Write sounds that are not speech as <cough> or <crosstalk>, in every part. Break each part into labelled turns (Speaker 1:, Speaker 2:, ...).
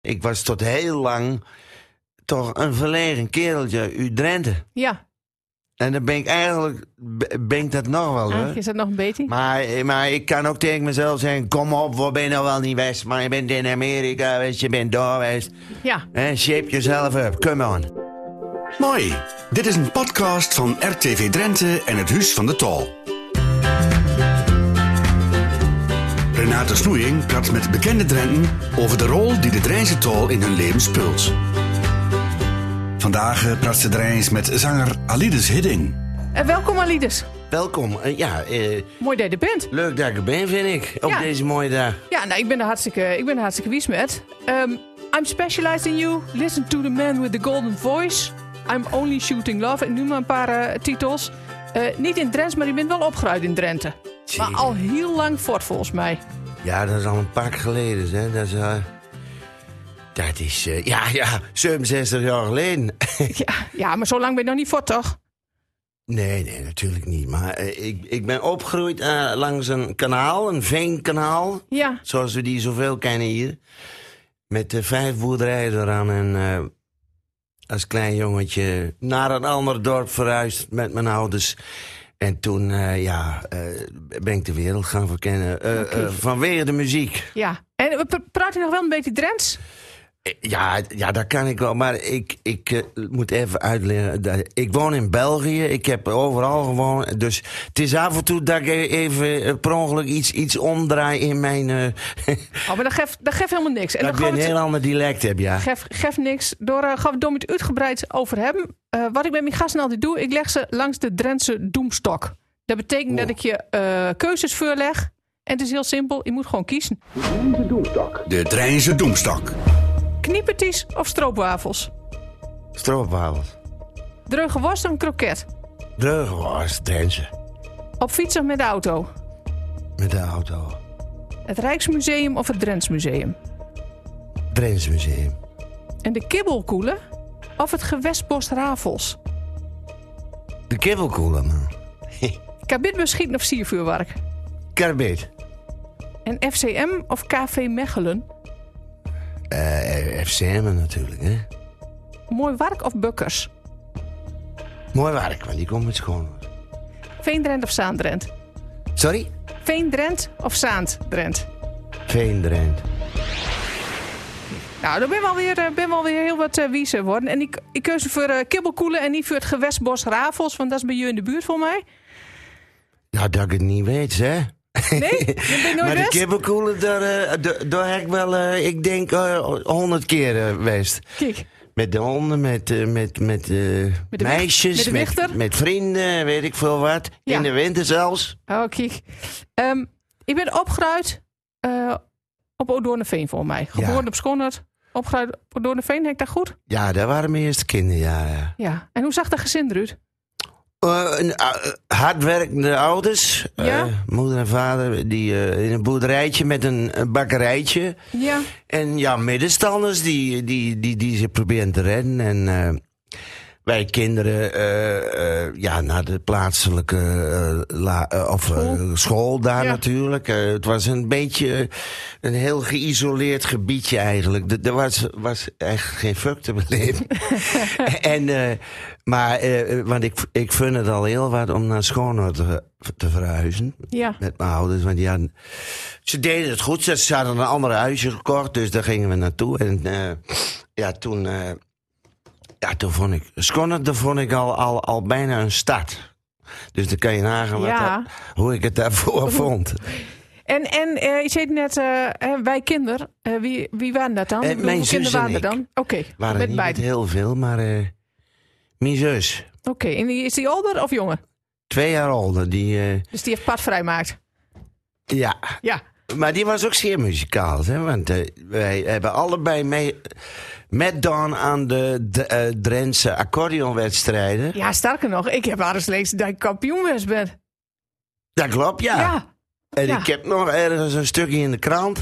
Speaker 1: Ik was tot heel lang toch een verlegen kereltje uit Drenthe.
Speaker 2: Ja,
Speaker 1: En dan ben ik eigenlijk, b- ben ik dat nog wel
Speaker 2: eigenlijk
Speaker 1: hoor.
Speaker 2: is dat nog een beetje.
Speaker 1: Maar, maar ik kan ook tegen mezelf zeggen, kom op, we ben je nou wel niet west. Maar je bent in Amerika west, je bent daar west.
Speaker 2: Ja,
Speaker 1: En shape jezelf up, come on.
Speaker 3: Mooi. Dit is een podcast van RTV Drenthe en het Huis van de Tal. Renate Snoeing praat met bekende Drenten over de rol die de Drijnse Tal in hun leven speelt. Vandaag eh, praat ze Drijns met zanger Alides Hidding.
Speaker 2: en Eh, welkom Alides.
Speaker 1: Welkom. Eh, Ja, eh,
Speaker 2: Mooi dat je er bent.
Speaker 1: leuk dat ik er ben, vind ik. Op
Speaker 2: Ja.
Speaker 1: deze mooie dag.
Speaker 2: Ja, nou, ik ben er hartstikke, ik ben er hartstikke wies met. Ehm, I'm specialized in you. Listen to the man with the golden voice. I'm only shooting love. En nu maar een paar eh, titels. Eh, niet in Drenthe, maar je bent wel opgeruid in Drenthe. Maar
Speaker 1: Zeker.
Speaker 2: al heel lang voort volgens mij.
Speaker 1: Ja, dat is al een pak geleden, hè. Dat is, eh, dat is eh, ja, ja, 67 jaar geleden.
Speaker 2: Ja, ja maar zo lang ben je nog niet voort, toch?
Speaker 1: Nee, nee, natuurlijk niet. Maar eh, ik, ik ben opgegroeid eh, langs een kanaal, een veenkanaal.
Speaker 2: Ja.
Speaker 1: Zoals we die zoveel kennen hier. Met eh, vijf boerderijen eraan. En eh, als klein jongetje naar een ander dorp verhuisd met mijn ouders. En toen eh, ja, eh, ben ik de wereld gaan verkennen. Eh, eh, vanwege de muziek.
Speaker 2: Ja. En we pra- praat je nog wel een beetje Drents?
Speaker 1: Eh, Ja, ja, dat kan ik wel. Maar ik, ik eh, moet even uitleggen. dat- Ik woon in België. Ik heb overal gewoond. Dus het is af en toe dat ik e- even eh, per ongeluk iets, iets omdraai in mijn... eh <laughs>
Speaker 2: Oh, maar dat geeft, dat geeft helemaal niks. En
Speaker 1: dat
Speaker 2: dan
Speaker 1: Nou, ik
Speaker 2: gaan
Speaker 1: weer
Speaker 2: we
Speaker 1: een
Speaker 2: het-
Speaker 1: heel ander dialect heb, ja.
Speaker 2: Geef, geef niks. Door eh, gaan we het door met uitgebreid over hebben. Eh, wat ik met mijn gasten altijd doe, ik leg ze langs de Drentse doemstok. Dat betekent dat ik je eh, keuzes voorleg. En het is heel simpel, je moet gewoon kiezen.
Speaker 3: De Drijnse Doemstak.
Speaker 2: Kniepertjes of stroopwafels?
Speaker 1: Stroopwafels.
Speaker 2: Dreuge worst of een kroket?
Speaker 1: Dreugenworst, Drentje.
Speaker 2: Op fiets of met de auto?
Speaker 1: Met de auto.
Speaker 2: Het Rijksmuseum of het Drents Museum?
Speaker 1: Drents Museum.
Speaker 2: En de kibbelkoelen of het gewestbos Rafels?
Speaker 1: De kibbelkoelen, man.
Speaker 2: Kabitbus schieten of siervuurwerk?
Speaker 1: Karbeet.
Speaker 2: En FCM of KV Mechelen?
Speaker 1: Eh, FCM natuurlijk, hè.
Speaker 2: Mooi wark of bukkers?
Speaker 1: Mooi werk, want die komt met schoon.
Speaker 2: Veendrent of Zaandrent?
Speaker 1: Sorry?
Speaker 2: Veendrent of Zaanddrent?
Speaker 1: Veendrent.
Speaker 2: Nou, daar ben wel weer, eh, ben wel weer heel wat eh, wiezen worden. En ik, ik keuze voor eh, kibbelkoelen en niet voor het gewestbos Rafels, want dat is bij je in de buurt voor
Speaker 1: <laughs>
Speaker 2: mij.
Speaker 1: Ja, dat ik het niet weet, hè.
Speaker 2: Nee, dat ben je nooit
Speaker 1: maar de
Speaker 2: best.
Speaker 1: kippenkoelen, daar, eh, daar, daar heb ik wel, eh, ik denk, honderd keer eh, geweest.
Speaker 2: Kijk,
Speaker 1: Met de honden, met, eh, met, met, eh,
Speaker 2: de weg- met
Speaker 1: meisjes,
Speaker 2: de
Speaker 1: met,
Speaker 2: wichter.
Speaker 1: met vrienden, weet ik veel wat.
Speaker 2: Ja.
Speaker 1: In de winter zelfs.
Speaker 2: oh kijk. Ehm, ik ben opgeruid eh, op Odoorneveen voor mij. Geboren op Schonert, opgeruid op Odoorneveen, heb ik dat goed?
Speaker 1: Ja, dat waren mijn eerste kinderjaren. ja.
Speaker 2: Ja. En hoe zag dat gezin eruit?
Speaker 1: Eh, een, eh, hardwerkende ouders.
Speaker 2: Ja.
Speaker 1: Eh, moeder en vader die, eh, in een boerderijtje met een, een bakkerijtje.
Speaker 2: Ja.
Speaker 1: En ja, middenstanders die, die, die, die zich proberen te redden. En eh, wij kinderen eh, eh, ja, naar de plaatselijke eh, la- eh, of, eh,
Speaker 2: School.
Speaker 1: school. daar
Speaker 2: Ja.
Speaker 1: natuurlijk. Eh, het was een beetje eh, een heel geïsoleerd gebiedje eigenlijk. Er- Er was, was echt geen fuck te beleven. en, eh, maar, eh, want ik, ik vind het al heel wat om naar Schoonhoord te, te verhuizen
Speaker 2: Ja.
Speaker 1: met mijn ouders. Want die hadden, ze deden het goed. Ze ze hadden een ander huisje gekocht, dus daar gingen we naartoe. En eh, ja, toen, eh, ja, toen vond ik... Schoonert, daar vond ik al, al, al bijna een start. Dus dan kan je nagaan wat
Speaker 2: Ja.
Speaker 1: dat- hoe ik het daarvoor vond.
Speaker 2: En, en eh, je zei net, eh, eh, wij kinderen, eh, wie, wie waren dat dan?
Speaker 1: Eh,
Speaker 2: Hoeveel
Speaker 1: mijn
Speaker 2: kinderen
Speaker 1: zus en
Speaker 2: waren er
Speaker 1: ik
Speaker 2: dan? Oké,
Speaker 1: Waren
Speaker 2: met
Speaker 1: niet
Speaker 2: beide.
Speaker 1: met heel veel, maar eh, mijn zus,
Speaker 2: Oké, en die- is die ouder of jonger?
Speaker 1: twee jaar ouder, die... eh,
Speaker 2: Dus die heeft pad vrijmaakt.
Speaker 1: ja,
Speaker 2: Ja.
Speaker 1: maar die was ook zeer muzikaal, hè? want eh, wij hebben allebei mee... Met Don aan de, de eh, Drentse accordeonwedstrijden.
Speaker 2: Ja, sterker nog, ik heb haar eens lezen dat ik kampioen was ben.
Speaker 1: Dat klopt, ja.
Speaker 2: Ja.
Speaker 1: en
Speaker 2: ja.
Speaker 1: ik heb nog ergens een stukje in de krant.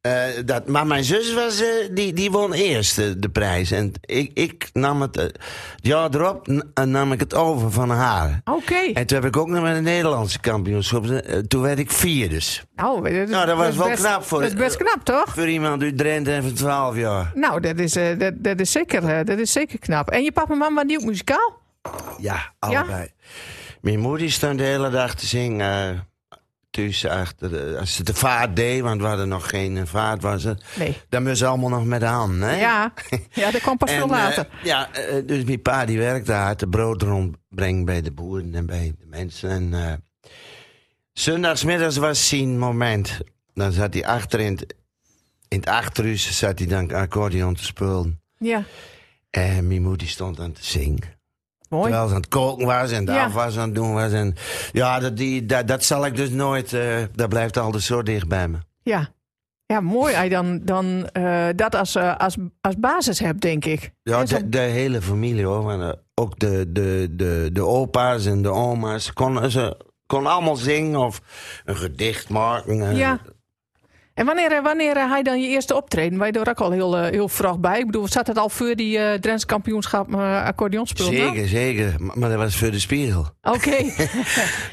Speaker 1: Eh, dat, maar mijn zus was, eh, die, die won eerst eh, de prijs. En ik, ik nam het eh, het jaar erop n- eh, nam ik het over van haar.
Speaker 2: Oké.
Speaker 1: En toen heb ik ook nog met een Nederlandse kampioenschap. eh, Toen werd ik vier dus.
Speaker 2: Nou, dat, is-
Speaker 1: Nou, dat was
Speaker 2: is
Speaker 1: wel
Speaker 2: best-
Speaker 1: knap voor-
Speaker 2: Dat is best knap, toch?
Speaker 1: Voor iemand uit Drenthe en van 12 jaar.
Speaker 2: Nou, dat is, eh, dat, dat, is zeker, eh, dat is zeker knap. En je papa en mama, die ook muzikaal?
Speaker 1: Ja, allebei. Mijn moeder stond de hele dag te zingen. eh, Thuis achter, de- als ze de vaart deed, want we hadden nog geen eh, vaart, was het.
Speaker 2: Nee.
Speaker 1: Dan moest ze allemaal nog met de hand, hè? <laughs>
Speaker 2: Ja, ja dat kwam pas
Speaker 1: En,
Speaker 2: veel
Speaker 1: eh,
Speaker 2: later.
Speaker 1: ja, eh, dus mijn pa die werkte hard, de brood rondbrengt bij de boeren en bij de mensen. En eh, zondagsmiddags was zijn moment. Dan zat hij achter in het, in het achterhuis, zat hij dan accordeon te spelen.
Speaker 2: ja,
Speaker 1: En mijn moeder stond aan te zingen.
Speaker 2: mooi.
Speaker 1: Terwijl ze aan het koken was en de
Speaker 2: Ja.
Speaker 1: afwas aan het doen was. En ja, dat, die, dat, dat zal ik dus nooit, eh, dat blijft altijd zo dicht bij me.
Speaker 2: Ja, ja mooi als je dan, dan eh, dat als, eh, als, als basis hebt, denk ik.
Speaker 1: Ja,
Speaker 2: En zo-
Speaker 1: de, de hele familie hoor. Want, eh, ook de, de, de, de opa's en de oma's. Ze konden, ze konden allemaal zingen of een gedicht maken. eh.
Speaker 2: ja. En wanneer, eh, wanneer eh, had je dan je eerste optreden? Wij je er ook al heel, eh, heel vroeg bij? Ik bedoel, zat het al voor die eh Drents kampioenschap eh accordeonspul? nou?
Speaker 1: Zeker, zeker. Maar maar dat was voor de spiegel.
Speaker 2: Oké.
Speaker 1: <laughs>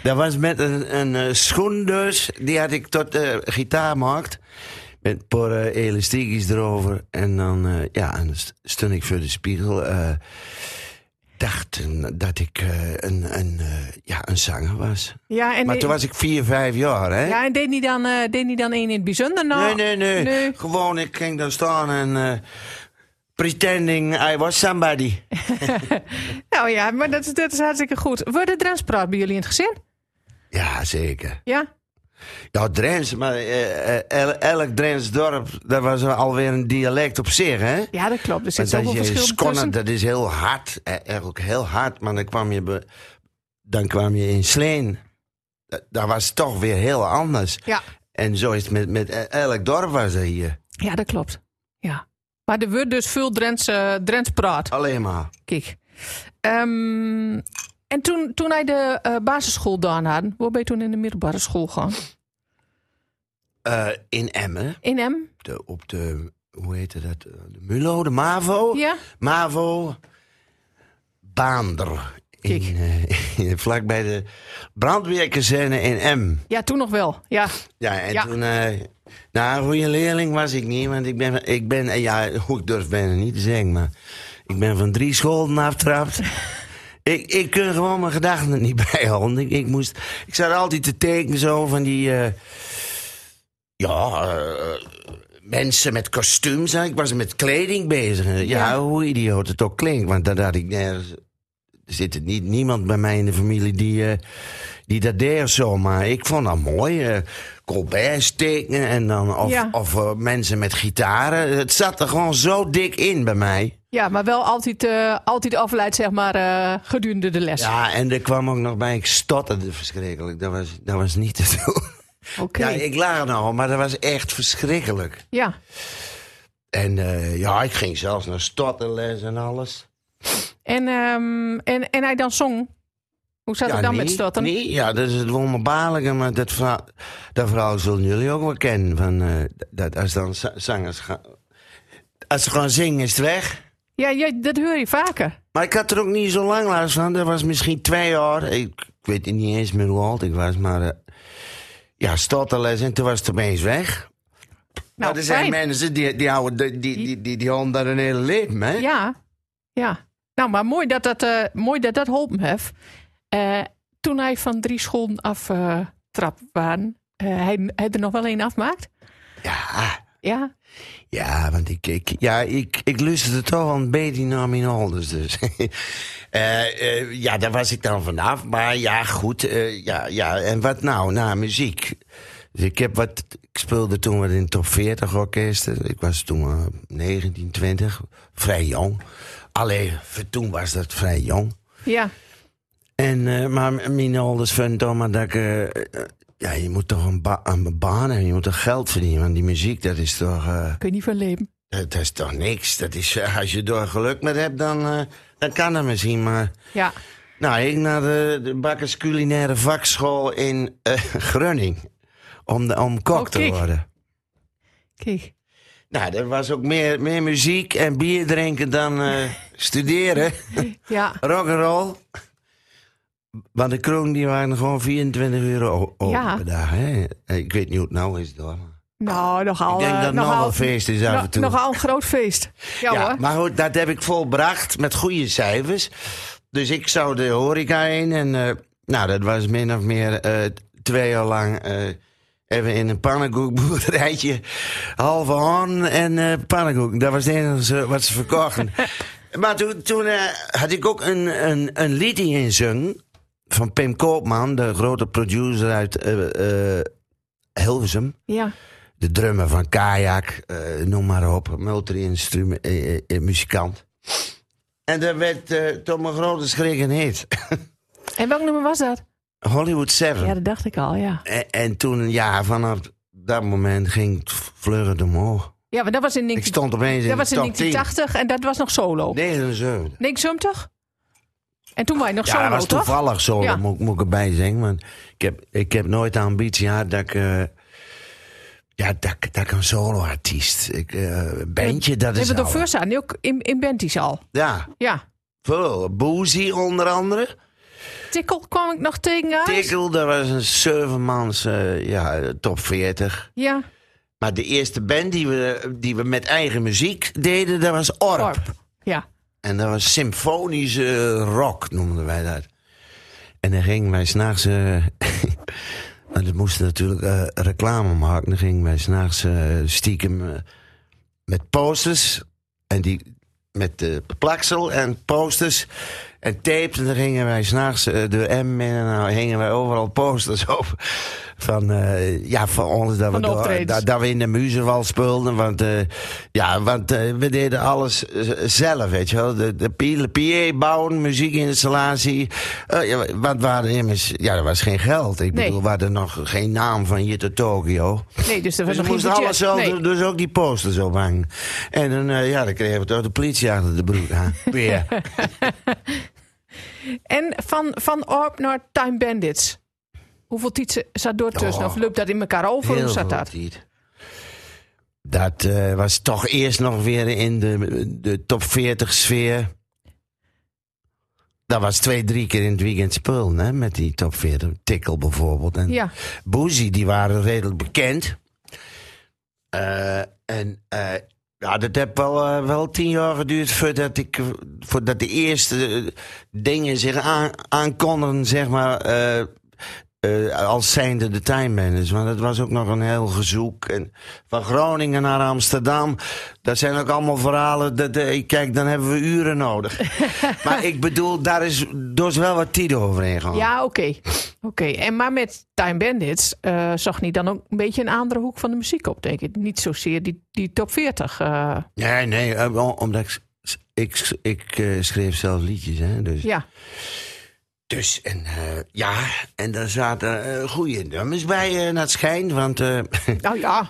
Speaker 1: Dat was met een, een eh, schoen dus. Die had ik tot eh gitaar gemaakt. Met paar eh, elastiekjes erover. En dan, eh, ja, en dan st- stond ik voor de spiegel. eh, dacht een- dat ik eh, een, een, eh, ja, een zanger was.
Speaker 2: ja, en,
Speaker 1: Maar toen was ik vier, vijf jaar, hè?
Speaker 2: ja, en deed niet dan, eh, deed niet dan één in het bijzonder? Nou,
Speaker 1: Nee, nee, nee,
Speaker 2: nee.
Speaker 1: Gewoon, ik ging daar staan en... eh, pretending I was somebody.
Speaker 2: Nou ja, maar dat, is- dat is hartstikke goed. Wordt het Drents praat bij jullie in het gezin?
Speaker 1: Ja, zeker.
Speaker 2: Ja?
Speaker 1: Ja, Drents, maar eh, eh, el- elk Drents dorp... dat was alweer een dialect op zich, hè?
Speaker 2: Ja, dat klopt. Er zit
Speaker 1: Want als
Speaker 2: zoveel
Speaker 1: je
Speaker 2: verschil
Speaker 1: skonnen,
Speaker 2: tussen.
Speaker 1: dat is heel hard. eh, Eigenlijk heel hard, maar dan kwam je, be- dan kwam je in Sleen. Dat, dat was toch weer heel anders.
Speaker 2: Ja.
Speaker 1: En zo is het met, met e-, elk dorp was dat hier.
Speaker 2: ja, dat klopt. Ja. Maar er wordt dus veel Drents, eh, Drents praat.
Speaker 1: Alleen maar.
Speaker 2: Kijk. Ehm, en toen, toen hij de eh, basisschool gedaan had, waar ben je toen in de middelbare school gegaan?
Speaker 1: Eh, in Emmen,
Speaker 2: In M?
Speaker 1: de, op de, hoe heette dat? De Mulo, de Mavo.
Speaker 2: Ja?
Speaker 1: Mavo Baander. In,
Speaker 2: Kijk.
Speaker 1: eh, <laughs> vlak bij de brandweerkazerne in Em.
Speaker 2: Ja, toen nog wel. Ja.
Speaker 1: Ja, en
Speaker 2: Ja.
Speaker 1: toen... eh nou, een goede leerling was ik niet, want ik ben... Ik ben eh, ja, hoe ik durf bijna niet te zeggen, maar... Ik ben van drie scholen
Speaker 2: <laughs>
Speaker 1: aftrapt. ik, ik kon gewoon mijn gedachten er niet <laughs> bijhouden. Ik, ik, moest, ik zat altijd te tekenen zo van die... eh, ja, eh, mensen met kostuums. hè. Ik was met kleding bezig. Eh, Ja,
Speaker 2: Ja.
Speaker 1: hoe idioot het ook klinkt. Want daar had ik nergens... Er zit niet, niemand bij mij in de familie die, eh, die dat deed zo. Maar ik vond dat mooi. eh Colbert's tekenen en dan... Of,
Speaker 2: Ja.
Speaker 1: of eh, mensen met gitaren. Het zat er gewoon zo dik in bij mij.
Speaker 2: ja, maar wel altijd, eh, altijd afleid, zeg maar, eh, gedurende de les.
Speaker 1: Ja, en er kwam ook nog bij, ik stotterde verschrikkelijk. Dat was, dat was niet te doen.
Speaker 2: Oké.
Speaker 1: Ja, ik lag er nog, om, maar dat was echt verschrikkelijk.
Speaker 2: Ja.
Speaker 1: En eh, ja, ik ging zelfs naar stotterles en alles.
Speaker 2: En, ehm, en, en hij dan zong. Hoe zat
Speaker 1: ja,
Speaker 2: het dan
Speaker 1: nee,
Speaker 2: met stotten?
Speaker 1: Nee, ja, dat is het wonderbaarlijke. Maar dat verhaal, dat verhaal zullen jullie ook wel kennen. Van, eh, dat als dan za- zangers gaan... Als ze gaan zingen is het weg.
Speaker 2: Ja, ja, dat hoor je vaker.
Speaker 1: Maar ik had er ook niet zo lang last van. Dat was misschien twee jaar. Ik, ik weet niet eens meer hoe oud ik was. Maar eh, ja, stotterles en toen was het opeens weg.
Speaker 2: Nou,
Speaker 1: Nou, er
Speaker 2: fijn.
Speaker 1: zijn mensen die, die, houden, die, die, die, die, die houden dat een hele leven, hè?
Speaker 2: Ja, ja. Nou, maar mooi dat dat, eh mooi dat, dat holpen heeft. Eh, toen hij van drie scholen aftrapt trap waren, eh, hij, hij er nog wel één afmaakt.
Speaker 1: Ja,
Speaker 2: Ja,
Speaker 1: ja, want ik, ik, ja, ik, ik luisterde toch al een beetje naar mijn ouders, dus. <laughs> Eh, eh, ja, daar was ik dan vanaf. Maar ja, goed. eh, ja, ja, en wat nou? Nou, muziek. Dus ik, heb wat, ik speelde toen wat in het top 40 orkesten. Ik was toen eh, 19, 20. Vrij jong. Alleen, voor toen was dat vrij jong.
Speaker 2: ja,
Speaker 1: En, eh, maar m- mijn ouders vinden toch maar dat ik... eh, eh, ja, je moet toch een, ba- een baan hebben, je moet toch geld verdienen. Want die muziek, dat is toch, eh,
Speaker 2: kun je niet van leven.
Speaker 1: dat, dat is toch niks. Dat is, eh, als je er geluk mee hebt, dan, eh, dan kan dat misschien. Maar
Speaker 2: Ja,
Speaker 1: nou, ik naar de, de Bakkers Culinaire Vakschool in eh Grunning. Om, de, om kok
Speaker 2: Oh,
Speaker 1: te
Speaker 2: kijk.
Speaker 1: worden.
Speaker 2: Kijk.
Speaker 1: Nou, er was ook meer, meer muziek en bier drinken dan
Speaker 2: <laughs>
Speaker 1: eh, studeren.
Speaker 2: Ja.
Speaker 1: Rock'n'roll. Want de kroon die waren gewoon 24 uur o- open
Speaker 2: Ja.
Speaker 1: per dag. Hè? Ik weet niet hoe het nou is hoor. maar
Speaker 2: Nou, nogal.
Speaker 1: Ik denk
Speaker 2: eh,
Speaker 1: dat het nog
Speaker 2: nogal,
Speaker 1: wel feest is af
Speaker 2: no-
Speaker 1: en toe.
Speaker 2: nogal een groot
Speaker 1: <laughs>
Speaker 2: feest. Ja,
Speaker 1: Ja,
Speaker 2: hoor.
Speaker 1: maar goed, dat heb ik volbracht met goede cijfers. Dus ik zou de horeca in en eh, nou, dat was min of meer eh, twee jaar lang eh, even in een pannenkoekboerderijtje. Halve hoorn en eh, pannenkoek. Dat was het enige wat ze
Speaker 2: <laughs>
Speaker 1: verkochten. maar toen, toen eh, had ik ook een, een, een liedje in zung van Pim Koopman, de grote producer uit eh, eh, Hilversum
Speaker 2: Ja.
Speaker 1: de drummer van Kajak, eh, noem maar op, multi-instrument, eh, eh, eh, muzikant. En dat werd eh, tot mijn grote schrik een hit.
Speaker 2: En welk nummer was dat?
Speaker 1: <laughs> Hollywood 7.
Speaker 2: Ja, dat dacht ik al, ja.
Speaker 1: En, en toen, ja, vanaf dat moment ging het vleugend omhoog.
Speaker 2: Ja, maar dat was in, 19,
Speaker 1: Ik stond opeens in
Speaker 2: dat
Speaker 1: de
Speaker 2: was in
Speaker 1: top 10.
Speaker 2: 1980 en dat was nog solo.
Speaker 1: 79.
Speaker 2: 1970? En toen waren nog
Speaker 1: Ja, dat
Speaker 2: solo,
Speaker 1: was
Speaker 2: toch?
Speaker 1: toevallig zo,
Speaker 2: Ja.
Speaker 1: dat moet, ik- moet ik erbij zeggen. Want ik heb, ik heb nooit de ambitie gehad dat ik... eh, ja, dat, ik- dat ik een solo-artiest... Ik, eh, bandje, dat
Speaker 2: Nee,
Speaker 1: is
Speaker 2: want door
Speaker 1: al-
Speaker 2: Fursa, nu ook in, in Benties al.
Speaker 1: Ja,
Speaker 2: Ja.
Speaker 1: veel. Boozy onder andere.
Speaker 2: Tikkel kwam ik nog tegen uit.
Speaker 1: Tikkel, dat was een zevenmans eh ja, top 40.
Speaker 2: Ja.
Speaker 1: Maar de eerste band die we, die we met eigen muziek deden, dat was Orp.
Speaker 2: Orp. Ja.
Speaker 1: En dat was symfonische rock, noemden wij dat. En dan gingen wij s'nachts... eh <laughs> want we moesten natuurlijk eh, reclame maken. Dan gingen wij s'nachts eh stiekem eh, met posters. En die met eh, plaksel en posters en tapes. En dan gingen wij s'nachts nachts door M en dan hingen wij overal posters op. Van, eh, ja, van ons dat,
Speaker 2: Van
Speaker 1: we,
Speaker 2: de
Speaker 1: door-
Speaker 2: optredens.
Speaker 1: dat, dat we in de muzenwal speelden. Want, eh, ja, want eh, we deden alles eh, zelf, weet je wel. De, de, P- de PA bouwen, muziekinstallatie. Eh, ja, want we hadden immers, ja, er was geen geld. Ik
Speaker 2: Nee.
Speaker 1: bedoel, we hadden nog geen naam van hier tot Tokio.
Speaker 2: Nee, dus dat was
Speaker 1: Dus we
Speaker 2: nog
Speaker 1: moesten
Speaker 2: geen budget.
Speaker 1: alles zo,
Speaker 2: Nee.
Speaker 1: dus ook die posters ophangen. En dan, eh, ja, dan kregen we toch de politie achter de broek aan.
Speaker 2: <laughs>
Speaker 1: Weer.
Speaker 2: En van, van Orp naar Time Bandits. Hoeveel tijd zat door tussen?
Speaker 1: Oh.
Speaker 2: Of loopt dat in elkaar over? Hoe
Speaker 1: Heel
Speaker 2: zat
Speaker 1: veel
Speaker 2: dat?
Speaker 1: tijd. Dat eh, was toch eerst nog weer in de, de top 40 sfeer. Dat was twee, drie keer in het weekend spul, hè, met die top 40. Tikkel bijvoorbeeld. En
Speaker 2: Ja.
Speaker 1: Boozy, die waren redelijk bekend. Eh, en eh, ja, dat heb wel, eh, wel tien jaar geduurd voordat, ik, eh, voordat de eerste eh, dingen zich aan, aankondigden, zeg maar. eh, eh, als zijnde de time managers. Want het was ook nog een heel gezoek. En van Groningen naar Amsterdam. Dat zijn ook allemaal verhalen. Dat, eh, kijk, dan hebben we uren
Speaker 2: <laughs>
Speaker 1: nodig. maar ik bedoel, daar is dus wel wat tijd overheen gegaan.
Speaker 2: Ja, oké. Oké, en maar met Time Bandits eh, zag niet dan ook een beetje een andere hoek van de muziek op, denk ik. Niet zozeer die, die top 40. eh,
Speaker 1: Nee, nee, eh, om- omdat ik, s- ik, ik eh, schreef zelf liedjes, hè. Dus,
Speaker 2: ja.
Speaker 1: dus en, eh, ja, en daar zaten eh goede nummers bij eh, naar het schijn. Want eh, <laughs>
Speaker 2: Nou ja,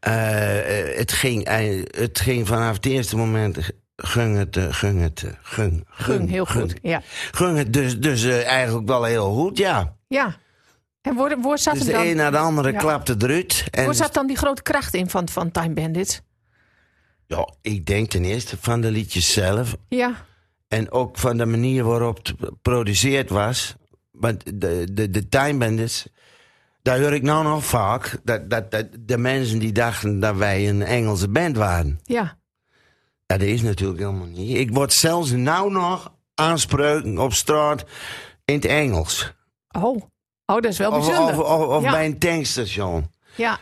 Speaker 1: eh, eh, het, ging, eh, het ging vanaf het eerste moment... eh, Gung het, eh, gung het, eh, gung, gung,
Speaker 2: gung, heel goed. Ja.
Speaker 1: Gung het dus, dus eh, eigenlijk wel heel goed, ja.
Speaker 2: ja. En waar, waar, zat
Speaker 1: Dus
Speaker 2: hem
Speaker 1: de
Speaker 2: dan,
Speaker 1: een naar de andere
Speaker 2: Ja.
Speaker 1: klapte eruit. En
Speaker 2: waar zat dan die grote kracht in van, van Time Bandits?
Speaker 1: ja, ik denk ten eerste van de liedjes zelf.
Speaker 2: Ja,
Speaker 1: En ook van de manier waarop het geproduceerd was. Want de, de, de Time Bandits, daar hoor ik nou nog vaak. Dat, dat, dat de mensen die dachten dat wij een Engelse band waren.
Speaker 2: ja.
Speaker 1: Ja, dat is natuurlijk helemaal niet. Ik word zelfs nou nog aanspreuken op straat in het Engels.
Speaker 2: Oh, oh dat is wel
Speaker 1: Of,
Speaker 2: bijzonder.
Speaker 1: of, of, of
Speaker 2: Ja.
Speaker 1: bij een tankstation.
Speaker 2: Ja.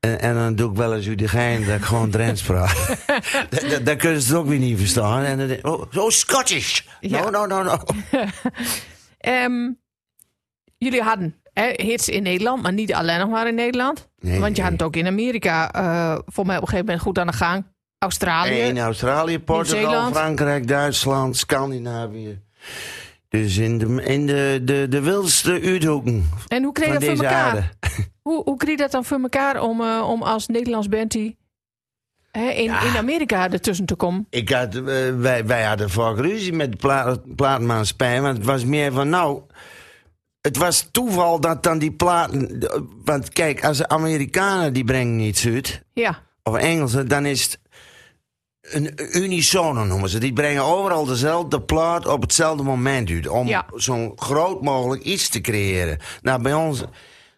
Speaker 1: En, en dan doe ik wel eens u de gein dat ik gewoon Drents praat.
Speaker 2: <laughs>
Speaker 1: Da- da- Dan kunnen ze het ook weer niet verstaan. En dan denk ik, oh, oh, Scottish! Nou,
Speaker 2: Ja.
Speaker 1: No, no, no, no.
Speaker 2: Ehm, jullie hadden hè, hits in Nederland, maar niet alleen nog maar in Nederland.
Speaker 1: Nee,
Speaker 2: Want je had
Speaker 1: nee.
Speaker 2: het ook in Amerika eh, voor mij op een gegeven moment goed aan de gang. Australië.
Speaker 1: In Australië, Portugal,
Speaker 2: Nieuw-Zeeland.
Speaker 1: Frankrijk, Duitsland, Scandinavië. Dus in de, in de, de, de wildste uithoeken
Speaker 2: En hoe kreeg je
Speaker 1: van
Speaker 2: dat voor
Speaker 1: deze aarde.
Speaker 2: elkaar? Hoe, hoe kreeg je dat dan voor elkaar om, eh, om als Nederlands bandie hè, in,
Speaker 1: Ja.
Speaker 2: in Amerika ertussen te komen?
Speaker 1: Ik had, eh, wij, wij hadden vaak ruzie met de pla plaatmaatschappij. Want het was meer van, nou, het was toeval dat dan die platen. eh, Want kijk, als de Amerikanen die brengen iets uit,
Speaker 2: Ja.
Speaker 1: of Engelsen, dan is het een unisono noemen ze. Die brengen overal dezelfde plaat op hetzelfde moment uit. Om
Speaker 2: Ja.
Speaker 1: zo'n groot mogelijk iets te creëren. Nou, bij ons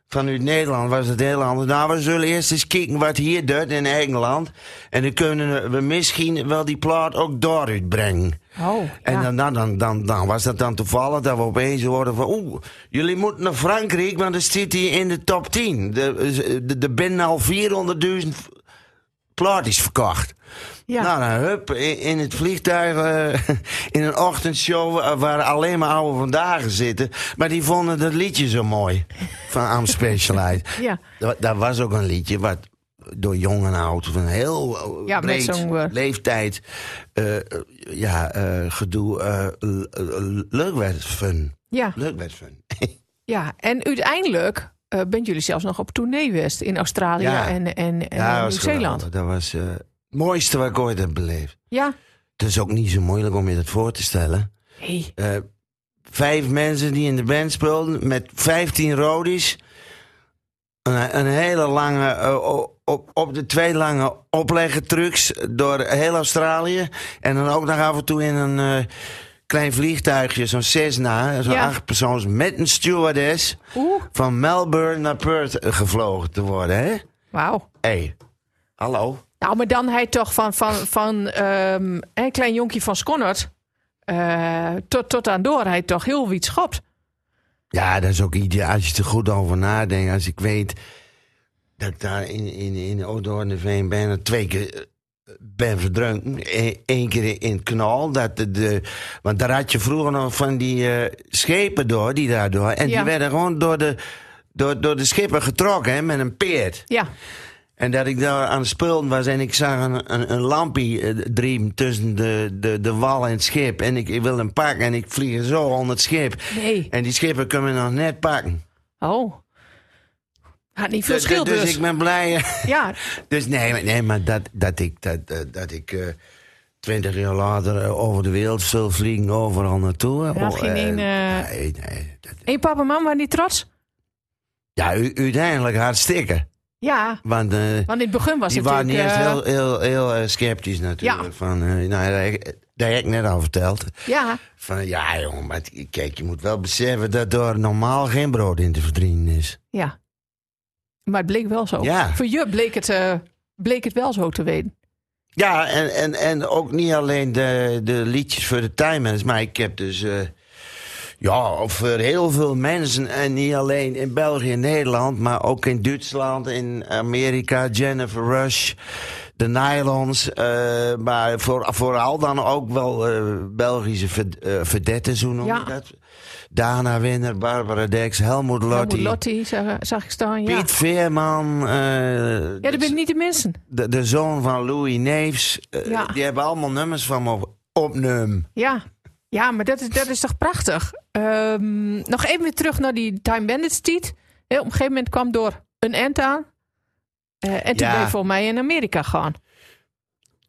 Speaker 1: vanuit Nederland was het heel anders. Nou, we zullen eerst eens kijken wat hier doet in Engeland. En dan kunnen we misschien wel die plaat ook daaruit brengen.
Speaker 2: Oh,
Speaker 1: En
Speaker 2: ja.
Speaker 1: dan, dan, dan, dan, dan was dat dan toevallig dat we opeens hoorden van... Oeh, jullie moeten naar Frankrijk, want dan zit hij in de top 10. De- de- Er binnen al 400.000 plaatjes verkocht.
Speaker 2: Ja.
Speaker 1: Nou, dan hup, in, in het vliegtuig, eh, <laughs> in een ochtendshow... eh, waar alleen maar oude vandaag zitten. Maar die vonden dat liedje zo mooi. Van I'm Specialized.
Speaker 2: Ja.
Speaker 1: Dat, dat was ook een liedje wat door jong en oud, van heel eh,
Speaker 2: Ja, met
Speaker 1: breed
Speaker 2: zo'n, eh,
Speaker 1: leeftijd, eh, eh, ja, eh, gedoe, eh, l- eh, leuk werd fun.
Speaker 2: Ja.
Speaker 1: Leuk werd fun.
Speaker 2: ja. En uiteindelijk eh bent jullie zelfs nog op tournee geweest in Australië
Speaker 1: Ja.
Speaker 2: en, en, en
Speaker 1: dat was
Speaker 2: eh, Nieuw-Zeeland.
Speaker 1: geweldig. Dat was eh, het mooiste wat ik ooit heb beleefd.
Speaker 2: Ja.
Speaker 1: Het is ook niet zo moeilijk om je dat voor te stellen.
Speaker 2: Hey.
Speaker 1: Eh, vijf mensen die in de band speelden met vijftien rodies. Een, een hele lange, eh, o- op, op de twee lange opleggetrucks door heel Australië. En dan ook nog af en toe in een eh, klein vliegtuigje, zo'n Cessna, zo'n
Speaker 2: Ja.
Speaker 1: acht persoons met een stewardess.
Speaker 2: Oeh,
Speaker 1: Van Melbourne naar Perth eh, gevlogen te worden, hè?
Speaker 2: wauw.
Speaker 1: hey. hallo.
Speaker 2: Nou, maar dan hij toch van, van, van ehm, een klein jonkje van Skonnert eh, tot, tot aan door hij toch heel wiet schopt.
Speaker 1: Ja, dat is ook ideaal. Als je er goed over nadenkt. Als ik weet dat ik daar in, in, in Oudhoornveen bijna twee keer eh, ben verdronken. E- Eén keer in het knal. Dat de, de- want daar had je vroeger nog van die eh, schepen door, die daardoor. En
Speaker 2: Ja.
Speaker 1: die werden gewoon door de, door, door de schipper getrokken hè, met een peert.
Speaker 2: Ja,
Speaker 1: En dat ik daar aan het spullen was en ik zag een, een, een lampje eh, dream tussen de, de, de wal en het schip. En ik, ik wil hem pakken en ik vlieg zo onder het schip.
Speaker 2: nee.
Speaker 1: En die schipper kunnen we nog net pakken.
Speaker 2: Oh. Had niet veel schil dus.
Speaker 1: dus. ik ben blij. <laughs>
Speaker 2: Ja,
Speaker 1: Dus nee, maar- nee maar dat, dat ik, dat, dat, dat ik eh, twintig jaar later eh, over de wereld zul vliegen, overal naartoe.
Speaker 2: Ja,
Speaker 1: Oh,
Speaker 2: geen
Speaker 1: eh,
Speaker 2: één, eh,
Speaker 1: Nee, nee. dat-
Speaker 2: en je papa en mama waren niet trots?
Speaker 1: ja, u, uiteindelijk hartstikke.
Speaker 2: Ja,
Speaker 1: Want eh,
Speaker 2: want in het begin was
Speaker 1: die
Speaker 2: het
Speaker 1: waren
Speaker 2: natuurlijk...
Speaker 1: eerst
Speaker 2: eh,
Speaker 1: heel, heel, heel eh, sceptisch natuurlijk.
Speaker 2: Ja.
Speaker 1: Van, eh, nou, dat, heb ik- dat heb ik net al verteld.
Speaker 2: Ja,
Speaker 1: Van, ja jongen, maar t- kijk, je moet wel beseffen dat er normaal geen brood in te verdienen is.
Speaker 2: ja. Maar het bleek wel zo.
Speaker 1: Ja.
Speaker 2: Voor je bleek het, eh, bleek het wel zo te weten.
Speaker 1: Ja, en, en, en ook niet alleen de, de liedjes voor de timers, maar ik heb dus. eh, ja, voor heel veel mensen, en niet alleen in België en Nederland, maar ook in Duitsland, in Amerika, Jennifer Rush, de Nylons. eh, maar voor, vooral dan ook wel eh, Belgische verd- eh, verdetten, zo noem je
Speaker 2: Ja.
Speaker 1: dat. Dana Winner, Barbara Dex, Helmoet Lotti,
Speaker 2: Lotti, Lotti zag, eh, zag ik staan, ja.
Speaker 1: Piet Veerman. eh,
Speaker 2: Ja, dat ben niet de mensen.
Speaker 1: de, de zoon van Louis Neefs. eh,
Speaker 2: Ja.
Speaker 1: Die hebben allemaal nummers van me op, opnum.
Speaker 2: Ja, ja maar dat is, dat is toch prachtig. Ehm, nog even weer terug naar die Time Bandits tiet. Hè, Op een gegeven moment kwam door een end aan. Eh, en toen
Speaker 1: Ja.
Speaker 2: ben je voor mij in Amerika gaan.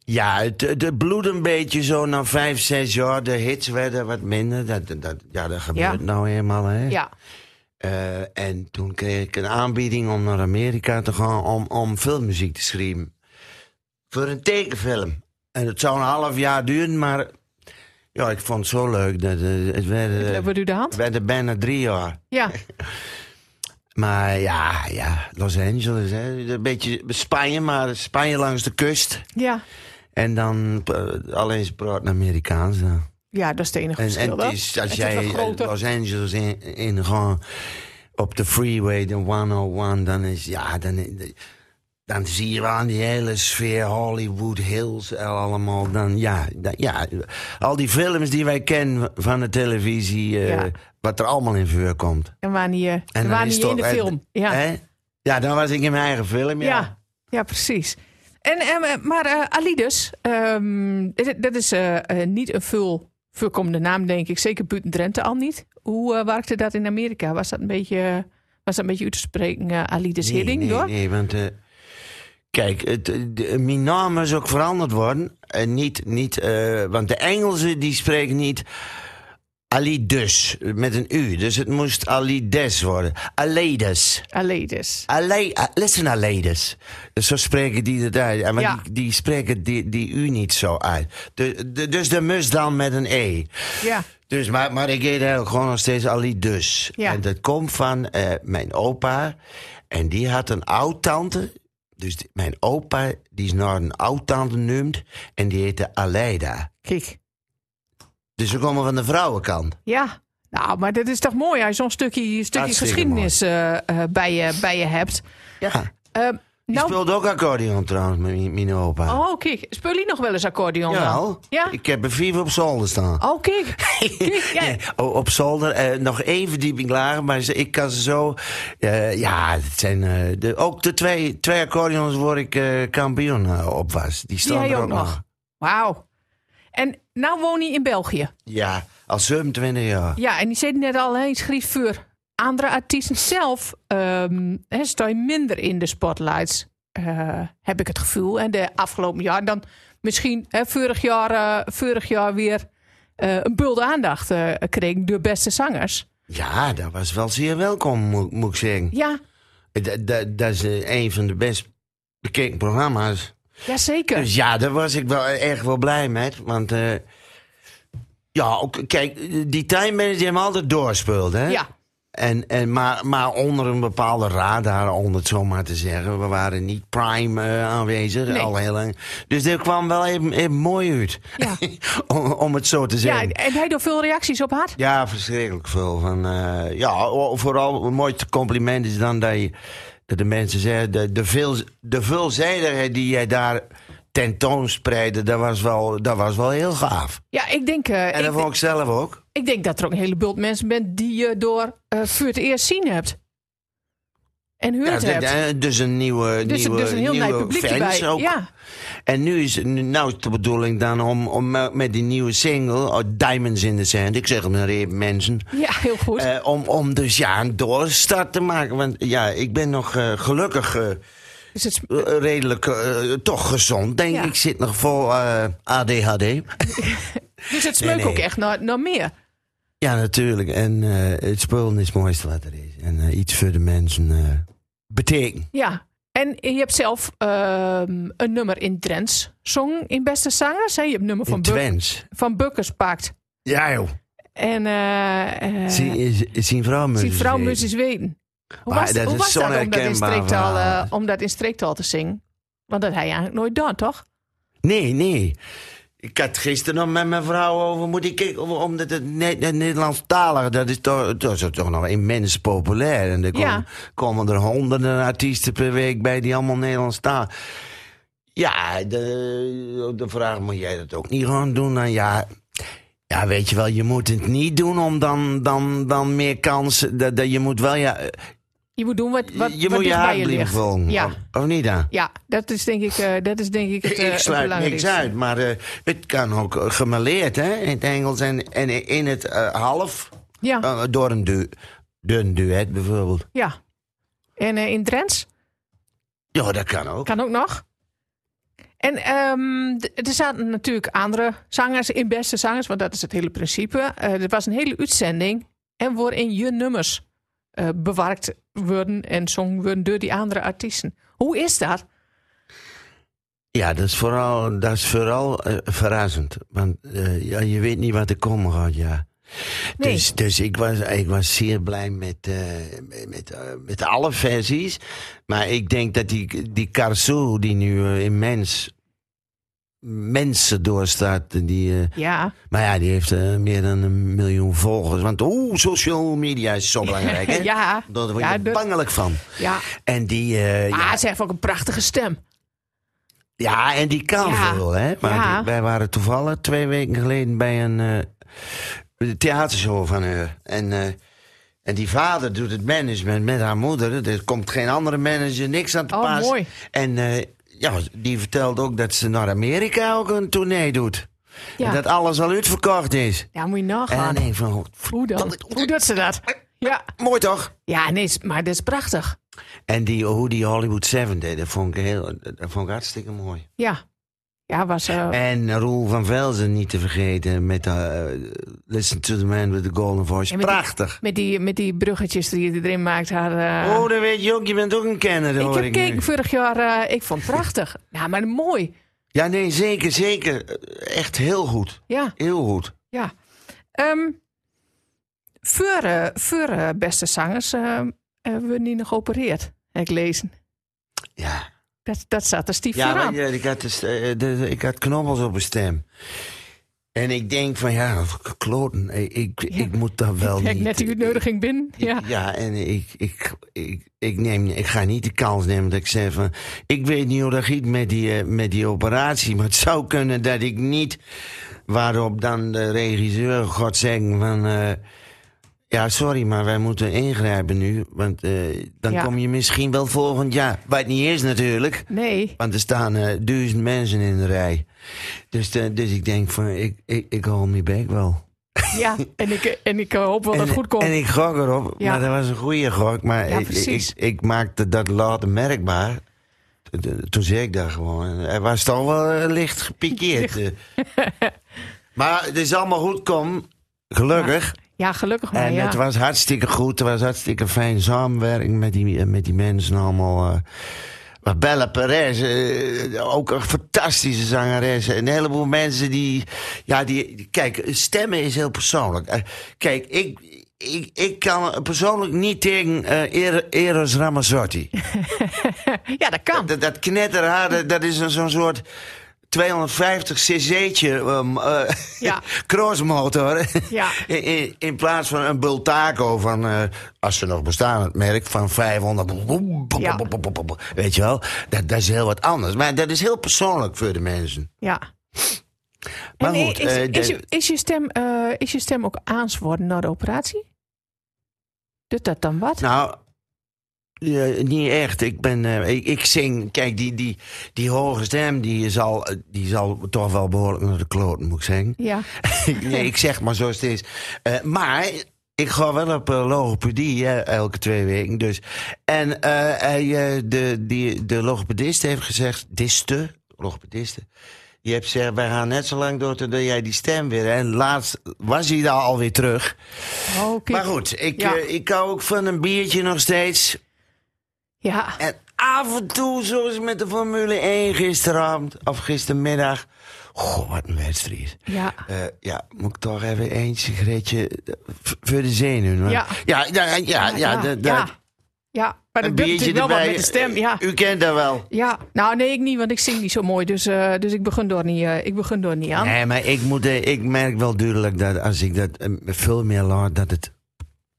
Speaker 1: Ja, het, het, het bloedt een beetje zo na vijf, zes jaar. De hits werden wat minder. Dat, dat- dat, ja, dat gebeurt
Speaker 2: Ja.
Speaker 1: nou eenmaal. Hè?
Speaker 2: Ja,
Speaker 1: Eh, en toen kreeg ik een aanbieding om naar Amerika te gaan om, om filmmuziek te schrijven. Voor een tekenfilm. En het zou een half jaar duren, maar ja, ik vond het zo leuk. Dat, eh, het
Speaker 2: we
Speaker 1: werden,
Speaker 2: hebben u de hand.
Speaker 1: het werden bijna drie jaar.
Speaker 2: Ja,
Speaker 1: Maar ja, ja, Los Angeles, hè. een beetje Spanje, maar Spanje langs de kust.
Speaker 2: ja.
Speaker 1: En dan eh, alleen ze praten Amerikaans. dan.
Speaker 2: ja, dat is het enige
Speaker 1: En, en
Speaker 2: verschil.
Speaker 1: het
Speaker 2: wel.
Speaker 1: is, als
Speaker 2: Het is
Speaker 1: jij eh,
Speaker 2: wel groter.
Speaker 1: Los Angeles in, in gewoon op de freeway, de 101, dan is ja, dan, eh, dan zie je wel aan die hele sfeer Hollywood Hills en allemaal. Dan, ja, dan- ja, al die films die wij kennen van de televisie, eh,
Speaker 2: Ja.
Speaker 1: wat er allemaal in vuur komt.
Speaker 2: En waar niet, eh,
Speaker 1: dan
Speaker 2: waar
Speaker 1: is
Speaker 2: niet
Speaker 1: toch-
Speaker 2: in de
Speaker 1: eh,
Speaker 2: film. Ja.
Speaker 1: Hè? Ja, dan was ik in mijn eigen film, ja.
Speaker 2: Ja, ja precies. En, ehm, eh, maar eh, Alides, ehm, dit- dat is eh, eh, niet een veel voorkomende naam, denk ik. Zeker buiten Drenthe al niet. Hoe eh, werkte dat in Amerika? Was dat een beetje, was dat een beetje uit te spreken, eh, Alides
Speaker 1: nee,
Speaker 2: Hidding?
Speaker 1: nee,
Speaker 2: hoor?
Speaker 1: Nee, want... eh, kijk, het, eh, de- mijn naam is eh, ook veranderd worden. En niet, niet, eh, want de Engelsen die spreken niet... Ali dus, met een U. Dus het moest Alides worden. Aledes.
Speaker 2: Aledes.
Speaker 1: Ale a- listen, Aledes. Dus zo spreken die het uit. Maar
Speaker 2: Ja.
Speaker 1: die, die spreken die, die U niet zo uit. De, de- dus de mus dan met een E.
Speaker 2: Ja.
Speaker 1: Dus, maar, maar ik heet eigenlijk gewoon nog steeds Ali dus.
Speaker 2: Ja.
Speaker 1: En dat komt van eh, mijn opa. En die had een oud-tante. Dus die- mijn opa, die is naar een oud-tante noemd. En die heette Aleida.
Speaker 2: Kijk.
Speaker 1: Dus we komen van de vrouwenkant.
Speaker 2: Ja. Nou, maar dat is toch mooi als je zo'n stukje, stukje
Speaker 1: Hartstikke
Speaker 2: geschiedenis eh, eh, bij, je, bij je hebt.
Speaker 1: Ja.
Speaker 2: Eh,
Speaker 1: Die
Speaker 2: nou,
Speaker 1: speelde ook accordeon trouwens, mijn, mijn opa.
Speaker 2: oh, kijk. Speel je nog wel eens accordeon? dan?
Speaker 1: Jawel.
Speaker 2: Ja?
Speaker 1: Ik heb er vier op zolder staan.
Speaker 2: Oh, kijk. Kijk, <laughs> ja.
Speaker 1: Ja, o- op zolder, eh, nog één verdieping lager, maar ze- ik kan ze zo. eh, ja, het zijn. eh, de, ook de twee, twee accordeons waar ik eh, kampioen eh, op was. Die
Speaker 2: Die
Speaker 1: staan
Speaker 2: heb je
Speaker 1: er
Speaker 2: ook nog. Wauw. En nou woon je in België.
Speaker 1: Ja, al 27 jaar.
Speaker 2: Ja, en die zei net al, hè, schreef voor andere artiesten zelf. ehm hè, sta je minder in de spotlights, eh, heb ik het gevoel. En de afgelopen jaar dan misschien hè, vorig, jaar, eh, vorig jaar weer eh, een bulde aandacht eh, kreeg door beste zangers.
Speaker 1: Ja, dat was wel zeer welkom, moet, moet ik zeggen.
Speaker 2: Ja,
Speaker 1: Dat- dat- Dat is eh, een van de best bekeken programma's.
Speaker 2: jazeker.
Speaker 1: Dus ja, daar was ik wel erg wel blij mee. Want eh, ja, ook, kijk, eh, die time manager die hem altijd doorspeeld, hè?
Speaker 2: Ja,
Speaker 1: En, en, maar, maar onder een bepaalde radar, om het zo maar te zeggen. We waren niet prime eh, aanwezig
Speaker 2: Nee.
Speaker 1: al heel lang. Dus dit kwam wel even, even mooi uit,
Speaker 2: ja.
Speaker 1: <laughs> om, om het zo te
Speaker 2: ja,
Speaker 1: zeggen. Ja,
Speaker 2: en hij door veel reacties op had.
Speaker 1: verschrikkelijk veel. Van, eh, ja, o- vooral een mooi compliment is dan dat, je, dat de mensen zeggen... De, de, veel, de veelzijdigheid die jij daar tentoonspreidde, dat was wel, dat was wel heel gaaf.
Speaker 2: Ja, ik denk, eh,
Speaker 1: En
Speaker 2: ik,
Speaker 1: dat vond ik zelf ook.
Speaker 2: ik denk dat er ook een hele bult mensen bent die je door eh voor het eerst zien hebt. En
Speaker 1: Ja,
Speaker 2: hoort
Speaker 1: d-
Speaker 2: hebt.
Speaker 1: d- dus een nieuwe,
Speaker 2: Dus,
Speaker 1: nieuwe,
Speaker 2: dus een heel
Speaker 1: nieuwe
Speaker 2: nieuw publiek
Speaker 1: fans
Speaker 2: erbij.
Speaker 1: ook.
Speaker 2: Ja,
Speaker 1: En nu is, nu- nou is de bedoeling dan om, om eh, met die nieuwe single, oh, Diamonds in the Sand, ik zeg hem maar even mensen,
Speaker 2: ja, heel goed.
Speaker 1: eh, om, om dus ja een doorstart te maken. Want ja, ik ben nog eh, gelukkig eh,
Speaker 2: Dus het, is-
Speaker 1: redelijk eh, toch gezond, denk
Speaker 2: Ja.
Speaker 1: ik. Ik zit nog vol eh, ADHD.
Speaker 2: dus het smeukt
Speaker 1: nee.
Speaker 2: ook echt naar, naar meer.
Speaker 1: Ja, natuurlijk. En eh, het spullen is het mooiste wat er is. En eh, iets voor de mensen eh, betekent.
Speaker 2: Ja. En je hebt zelf ehm, een nummer in Drents zong in Beste Zangers. Hè? Je hebt een nummer
Speaker 1: In
Speaker 2: van, Buk,
Speaker 1: Twents.
Speaker 2: van Bukkers pakt.
Speaker 1: Ja joh.
Speaker 2: En eh eh
Speaker 1: Zien- Zien vrouwen
Speaker 2: die vrouw
Speaker 1: weten.
Speaker 2: moest eens weten. Hoe
Speaker 1: Maar
Speaker 2: was
Speaker 1: dat
Speaker 2: dat, hoe
Speaker 1: is
Speaker 2: was
Speaker 1: zo'n
Speaker 2: dat om, dat in
Speaker 1: herkenbaar
Speaker 2: streektaal, eh,
Speaker 1: verhaal.
Speaker 2: om dat in streektaal te zingen? Want dat hij eigenlijk nooit dan, toch?
Speaker 1: Nee, nee. Ik had gisteren nog met mijn vrouw over moeten kijken. om- Omdat het, ne het Nederlandstalige, dat is, toch, dat is toch nog immens populair. En er kom-
Speaker 2: Ja.
Speaker 1: komen er honderden artiesten per week bij die allemaal Nederlandstalig. Ja, de, de vraag moet jij dat ook niet gewoon doen. Nou ja, ja, weet je wel, je moet het niet doen om dan, dan, dan meer kansen. Dat, dat je moet wel, ja, eh,
Speaker 2: Je moet doen wat, wat,
Speaker 1: je
Speaker 2: wat
Speaker 1: moet je
Speaker 2: dicht bij
Speaker 1: hart
Speaker 2: je
Speaker 1: blijven
Speaker 2: ligt.
Speaker 1: volgen.
Speaker 2: Ja.
Speaker 1: Of, of niet dan?
Speaker 2: Ja, dat is denk ik, eh, dat is denk ik
Speaker 1: <laughs>
Speaker 2: het,
Speaker 1: Ik,
Speaker 2: eh,
Speaker 1: ik
Speaker 2: het
Speaker 1: sluit niks
Speaker 2: belangrijkste.
Speaker 1: uit, maar eh, het kan ook eh, gemaleerd, hè? In het Engels en, en in het eh, half.
Speaker 2: Ja,
Speaker 1: eh, door een du dun duet bijvoorbeeld.
Speaker 2: ja. En eh, in Drents?
Speaker 1: Ja, dat kan ook.
Speaker 2: Kan ook nog. En ehm, d- er zaten natuurlijk andere zangers in beste zangers, want dat is het hele principe. Eh er was een hele uitzending en waarin je nummers eh, bewerkt worden en zongen worden door die andere artiesten. Hoe is dat?
Speaker 1: Ja, dat is vooral, dat is vooral eh, verrassend. Want eh, ja, je weet niet wat er komen gaat, ja.
Speaker 2: Nee.
Speaker 1: Dus, dus ik, was, ik was zeer blij met, eh, met, met, eh, met alle versies. Maar ik denk dat die, die Carsou, die nu eh, immens mensen doorstaat, die... eh,
Speaker 2: Ja,
Speaker 1: Maar ja, die heeft eh, meer dan een miljoen volgers. Want oeh, social media is zo belangrijk, hè?
Speaker 2: <laughs> ja,
Speaker 1: Daar word je
Speaker 2: Ja, de-
Speaker 1: bangelijk van.
Speaker 2: ja.
Speaker 1: En die, eh,
Speaker 2: Ah,
Speaker 1: ja,
Speaker 2: ze heeft ook een prachtige stem.
Speaker 1: ja, en die kan
Speaker 2: Ja.
Speaker 1: veel, hè? Maar
Speaker 2: Ja.
Speaker 1: die- wij waren toevallig twee weken geleden bij een eh, theatershow van haar. En, eh, en die vader doet het management met haar moeder. Er komt geen andere manager, niks aan te
Speaker 2: Oh,
Speaker 1: pas.
Speaker 2: mooi.
Speaker 1: En eh, ja, die vertelt ook dat ze naar Amerika ook een tournee doet.
Speaker 2: Ja,
Speaker 1: En dat alles al uitverkocht is.
Speaker 2: ja moet je
Speaker 1: En dan
Speaker 2: nagaan.
Speaker 1: denk ik van, oh,
Speaker 2: Hoe dan? Hoe doet ze dat? Ja,
Speaker 1: mooi toch?
Speaker 2: ja nee, s- maar dat is prachtig.
Speaker 1: En die, hoe die Hollywood 7 deed, dat vond ik, heel, dat vond ik hartstikke mooi.
Speaker 2: Ja. Ja, was... eh,
Speaker 1: En Roel van Velzen niet te vergeten met eh, Listen to the Man with the Golden Voice.
Speaker 2: Ja, met die-
Speaker 1: Prachtig.
Speaker 2: met, die, met die bruggetjes die je erin maakt. Haar, eh,
Speaker 1: Oh, dat weet je ook. Je bent ook een kenner,
Speaker 2: ik
Speaker 1: hoor
Speaker 2: heb
Speaker 1: ik
Speaker 2: gekeken
Speaker 1: nu.
Speaker 2: vorig jaar. eh, ik vond het prachtig. ja, maar mooi.
Speaker 1: Ja, nee, zeker, zeker. Echt heel goed.
Speaker 2: Ja,
Speaker 1: Heel goed.
Speaker 2: ja. Ehm voor, eh, voor, eh, beste zangers eh, hebben we niet nog geopereerd. Heb ik lezen.
Speaker 1: Ja,
Speaker 2: Dat, dat zat er stief
Speaker 1: ja,
Speaker 2: vooraan.
Speaker 1: maar, ja, ik, had de, st- eh, de- ik had knobbels op mijn stem. En ik denk van, ja, kloten. Ik, ik,
Speaker 2: Ja.
Speaker 1: ik moet dat wel
Speaker 2: Ik heb
Speaker 1: niet.
Speaker 2: net die uitnodiging binnen. Ja.
Speaker 1: Ja. en ik, ik, ik, ik, neem, ik ga niet de kans nemen dat ik zeg van... Ik weet niet hoe dat giet met die, eh, met die operatie. Maar het zou kunnen dat ik niet... Waarop dan de regisseur gaat zeggen van... eh, ja, sorry, maar wij moeten ingrijpen nu. Want eh, dan
Speaker 2: Ja.
Speaker 1: kom je misschien wel volgend jaar. Wat niet is natuurlijk.
Speaker 2: Nee.
Speaker 1: Want er staan eh, duizend mensen in de rij. Dus, eh, dus ik denk van, ik, ik, ik hou mijn bek wel.
Speaker 2: Ja. En ik, en ik hoop wel dat
Speaker 1: En-
Speaker 2: het goed komt.
Speaker 1: En ik gok erop,
Speaker 2: Ja.
Speaker 1: maar dat was een goede gok. Maar
Speaker 2: Ja,
Speaker 1: ik,
Speaker 2: precies.
Speaker 1: ik, ik maakte dat later merkbaar. T- t- Toen zei ik dat gewoon. Hij was toch wel eh, licht gepikeerd.
Speaker 2: <laughs>
Speaker 1: eh. maar het is allemaal goed kom. Gelukkig.
Speaker 2: Ja, gelukkig maar.
Speaker 1: en
Speaker 2: Nou ja.
Speaker 1: het was hartstikke goed. Het was hartstikke fijn samenwerking met die, eh, met die mensen allemaal. eh. maar Bella Perez, eh, ook een fantastische zangeres. Een heleboel mensen die... Ja, die, die- kijk, stemmen is heel persoonlijk. Eh, kijk, ik, ik, ik kan persoonlijk niet tegen eh, Er- Eros Ramazzotti.
Speaker 2: ja, dat kan.
Speaker 1: Dat, dat knetterharde, dat is een- zo'n soort 250 cc'tje um, eh,
Speaker 2: Ja.
Speaker 1: <laughs> crossmotor.
Speaker 2: Ja.
Speaker 1: In, in, in plaats van een Bultaco van, eh, als ze nog bestaan, het merk van 500.
Speaker 2: Ja.
Speaker 1: Weet je wel, dat, dat is heel wat anders. Maar dat is heel persoonlijk voor de mensen.
Speaker 2: Ja.
Speaker 1: Maar
Speaker 2: En
Speaker 1: goed,
Speaker 2: is,
Speaker 1: eh,
Speaker 2: is,
Speaker 1: de-
Speaker 2: je- is, je stem, eh, is je stem ook aanswoorden na de operatie? Doet dat dan wat?
Speaker 1: Nou, ja, niet echt. Ik, ben, eh, ik, ik zing. Kijk, die, die, die hoge stem die is, al, die is al toch wel behoorlijk naar de kloten, moet ik zeggen.
Speaker 2: ja.
Speaker 1: nee, <laughs> ik zeg maar zoals het is. Eh, maar ik ga wel op eh, logopedie hè, elke twee weken. Dus. En eh, hij, eh, de, die, de logopedist heeft gezegd, diste, logopediste. Je hebt gezegd, wij gaan net zo lang door totdat jij die stem weer... En laatst was hij daar alweer terug.
Speaker 2: Oh, kijk.
Speaker 1: Maar goed, ik,
Speaker 2: Ja.
Speaker 1: eh, ik hou ook van een biertje nog steeds.
Speaker 2: Ja.
Speaker 1: En af en toe, zoals met de Formule 1 gisteravond of gistermiddag. Goh, wat een wedstrijd.
Speaker 2: Ja.
Speaker 1: Eh, ja, moet ik toch even één sigaretje eh, v- voor de zenuwen. hoor.
Speaker 2: Ja.
Speaker 1: Ja, ja, ja, ja,
Speaker 2: ja,
Speaker 1: dat- dat-
Speaker 2: ja. Ja, maar dat
Speaker 1: een
Speaker 2: doet
Speaker 1: biertje
Speaker 2: natuurlijk wel wat
Speaker 1: erbij. eh,
Speaker 2: met de stem. Ja.
Speaker 1: U kent dat wel.
Speaker 2: ja. Nou, nee, ik niet, want ik zing niet zo mooi. Dus, eh, dus ik begin door niet, eh, ik begin door niet aan.
Speaker 1: Nee, maar ik, moet, eh, ik merk wel duidelijk dat als ik dat eh, veel meer laat, dat het